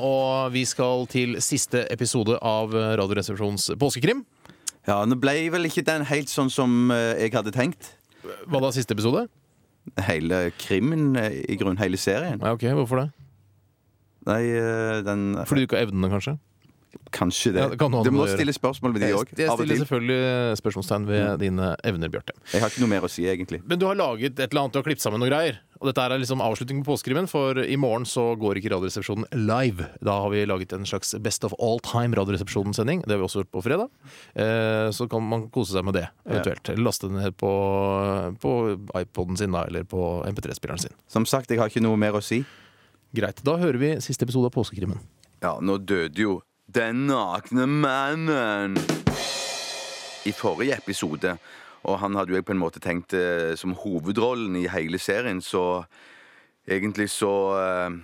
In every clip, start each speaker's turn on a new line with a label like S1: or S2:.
S1: og vi skal til siste episode av Radioresepsjonens påskekrim.
S2: Ja, Nå ble vel ikke den helt sånn som eh, jeg hadde tenkt.
S1: Hva da, siste episode?
S2: Hele krimmen, eh, i grunn, hele serien.
S1: Ja, ok, Hvorfor det?
S2: Nei, eh, den
S1: Fordi du ikke har evnene, kanskje?
S2: Kanskje det.
S1: Ja, det kan ha
S2: du
S1: noe
S2: må
S1: å gjøre.
S2: stille spørsmål ved de
S1: Jeg
S2: òg.
S1: jeg
S2: Av og
S1: stiller
S2: til. Mm.
S1: selvfølgelig spørsmålstegn ved dine evner, Bjarte.
S2: Jeg har ikke noe mer å si, egentlig.
S1: Men du har laget et eller annet, du har klippet sammen noen greier. Og dette er liksom avslutningen på påskekrimmen, for i morgen så går ikke Radioresepsjonen live. Da har vi laget en slags Best of all time Radioresepsjonen-sending. Det har vi også gjort på fredag. Eh, Så kan man kose seg med det, eventuelt. Eller laste den ned på, på iPoden sin, da, eller på MP3-spilleren sin.
S2: Som sagt, jeg har ikke noe mer å si.
S1: Greit. Da hører vi siste episode av Påskekrimmen.
S2: Ja, nå døde jo den nakne mannen i forrige episode. Og han hadde jo jeg på en måte tenkt eh, som hovedrollen i hele serien, så egentlig så eh,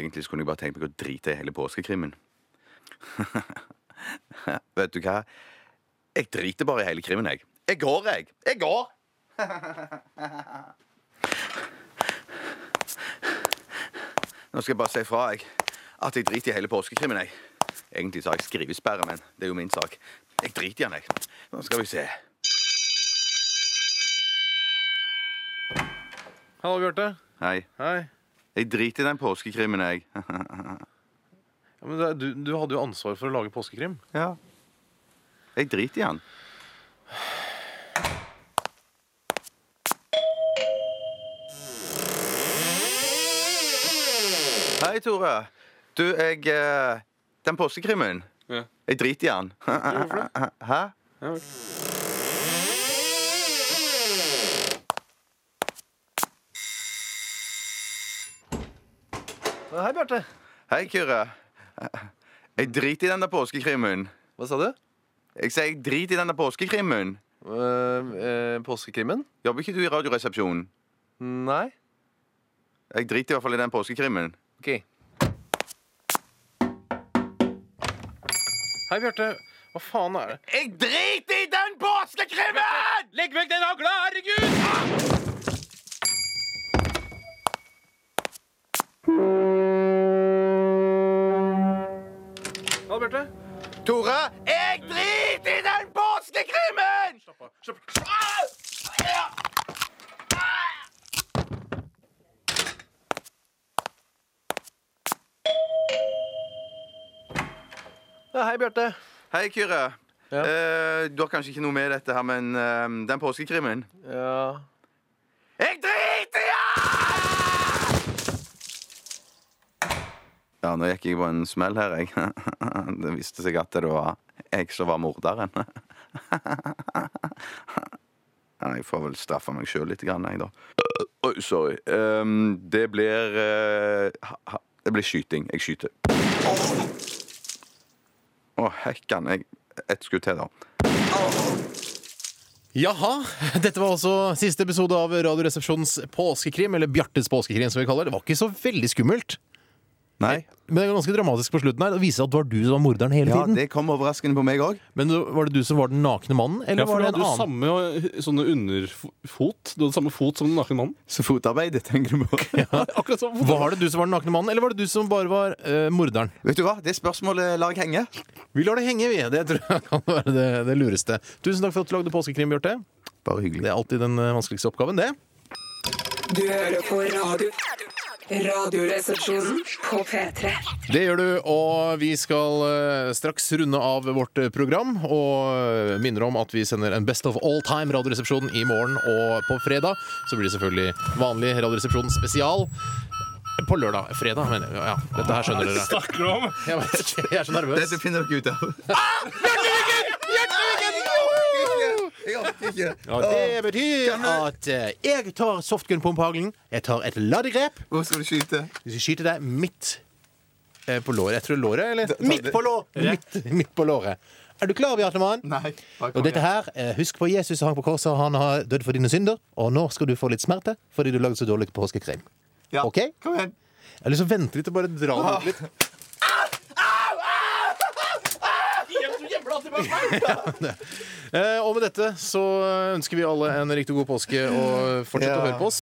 S2: Egentlig så kunne jeg bare tenkt meg å drite i hele påskekrimmen. Vet du hva? Jeg driter bare i hele krimmen, jeg. Jeg går, jeg. Jeg går! Nå skal jeg bare si fra jeg, at jeg driter i hele påskekrimmen. Jeg. Egentlig så har jeg skrivesperre, men det er jo min sak. Jeg driter i den, jeg. Nå skal vi se.
S1: Hallo, Bjarte.
S2: Hei.
S1: Hei.
S2: Jeg driter i den påskekrimmen, jeg.
S1: du, hadde jo ansvar for å lage påskekrim.
S2: Ja. Jeg driter i den. Hei, Tore. Du, jeg eh, Den påskekrimmen.
S3: Ja.
S2: Jeg driter i den. Hvorfor det? Hæ?
S3: Ja, vel.
S4: Hei, Bjarte.
S2: Hei, Kyrre. Jeg driter i den der påskekrimmen.
S4: Hva sa du?
S2: Jeg sier jeg driter i den der påskekrimmen.
S4: Eh, eh, påskekrimmen?
S2: Jobber ikke du i Radioresepsjonen?
S4: Nei.
S2: Jeg driter i hvert fall i den påskekrimmen.
S4: Ok.
S1: Hei, Bjarte. Hva faen er det?
S2: Jeg driter i den påskekrimmen!
S1: Legg vekk den hagla, herregud!
S4: Hallo, Bjarte.
S2: Tore, jeg driter i den påskekrimmen!
S4: Ja, hei, Bjarte.
S2: Hei, Kyrre.
S4: Ja.
S2: Eh, du har kanskje ikke noe med dette her, men eh, den påskekrimmen
S4: Ja.
S2: Jeg driter i den! Ja, nå gikk jeg på en smell her, jeg. Det viste seg at det var jeg som var morderen. Ja, Jeg får vel straffe meg sjøl litt, grann, jeg, da. Oi, sorry. Ehm, det blir eh, ha- ha- Det blir skyting. Jeg skyter. Å, hekkan. Jeg Ett skudd til, da.
S1: Jaha. Dette var altså siste episode av Radioresepsjonens påskekrim, eller Bjartes påskekrim, som vi kaller det. Det var ikke så veldig skummelt,
S2: Nei.
S1: men det var ganske dramatisk på slutten her. Det viser at det var du som var morderen hele
S2: Ja,
S1: tiden.
S2: det kom overraskende på meg òg.
S1: Men du- var det du som var den nakne mannen, eller
S3: Ja,
S1: var
S3: for du
S1: det
S3: hadde
S1: en
S3: jo
S1: annen?
S3: samme eh, sånne underfot. Du hadde samme fot som den nakne mannen.
S2: Så fotarbeidet, tenker du på.
S3: Akkurat samme fot.
S1: Var det du som var den nakne mannen, eller var det du som bare var eh, morderen?
S2: Vet du hva? Det spørsmålet lar jeg henge.
S1: Vi lar det henge, vi. Det tror jeg kan være det, det lureste. Tusen takk for at du lagde påskekrim, Bjarte.
S2: Bare hyggelig.
S1: Det er alltid den eh, vanskeligste oppgaven, det.
S5: Du hører på radio. Radioresepsjonen på P3.
S1: Det gjør du, og vi skal eh, straks runde av vårt eh, program. Og eh, minner om at vi sender en Best of all time Radioresepsjonen i morgen og på fredag. Så blir det selvfølgelig vanlig Radioresepsjonen spesial. På lørdag. Fredag, mener jeg. Ja, dette her skjønner dere.
S3: Snakker du om?
S1: Jeg, vet, ikke, jeg er så nervøs.
S2: Dette finner dere ut av. Jeg orker ikke!
S1: Og det betyr at eh, jeg tar softgun-pumpehaglen, jeg tar et ladegrep,
S2: Hvor skal du skyte?
S1: hvis vi skyter deg midt eh, på låret. Jeg tror låret, eller? Midt
S2: det-
S1: på låret! Midt, midt på låret. Er du klar, Bjarte Mann?
S2: Nei.
S1: Og dette her, eh, Husk på Jesus hang på korset, og han har dødd for dine synder. Og nå skal du få litt smerte fordi du lagde så dårlig påskekrim.
S2: Ja.
S1: Ok? Jeg
S2: Kom igjen.
S1: har lyst til å vente litt og bare dra det ut litt. Eh, Og med dette så ønsker vi alle en riktig god påske, og fortsett å
S2: Ja.
S1: høre på oss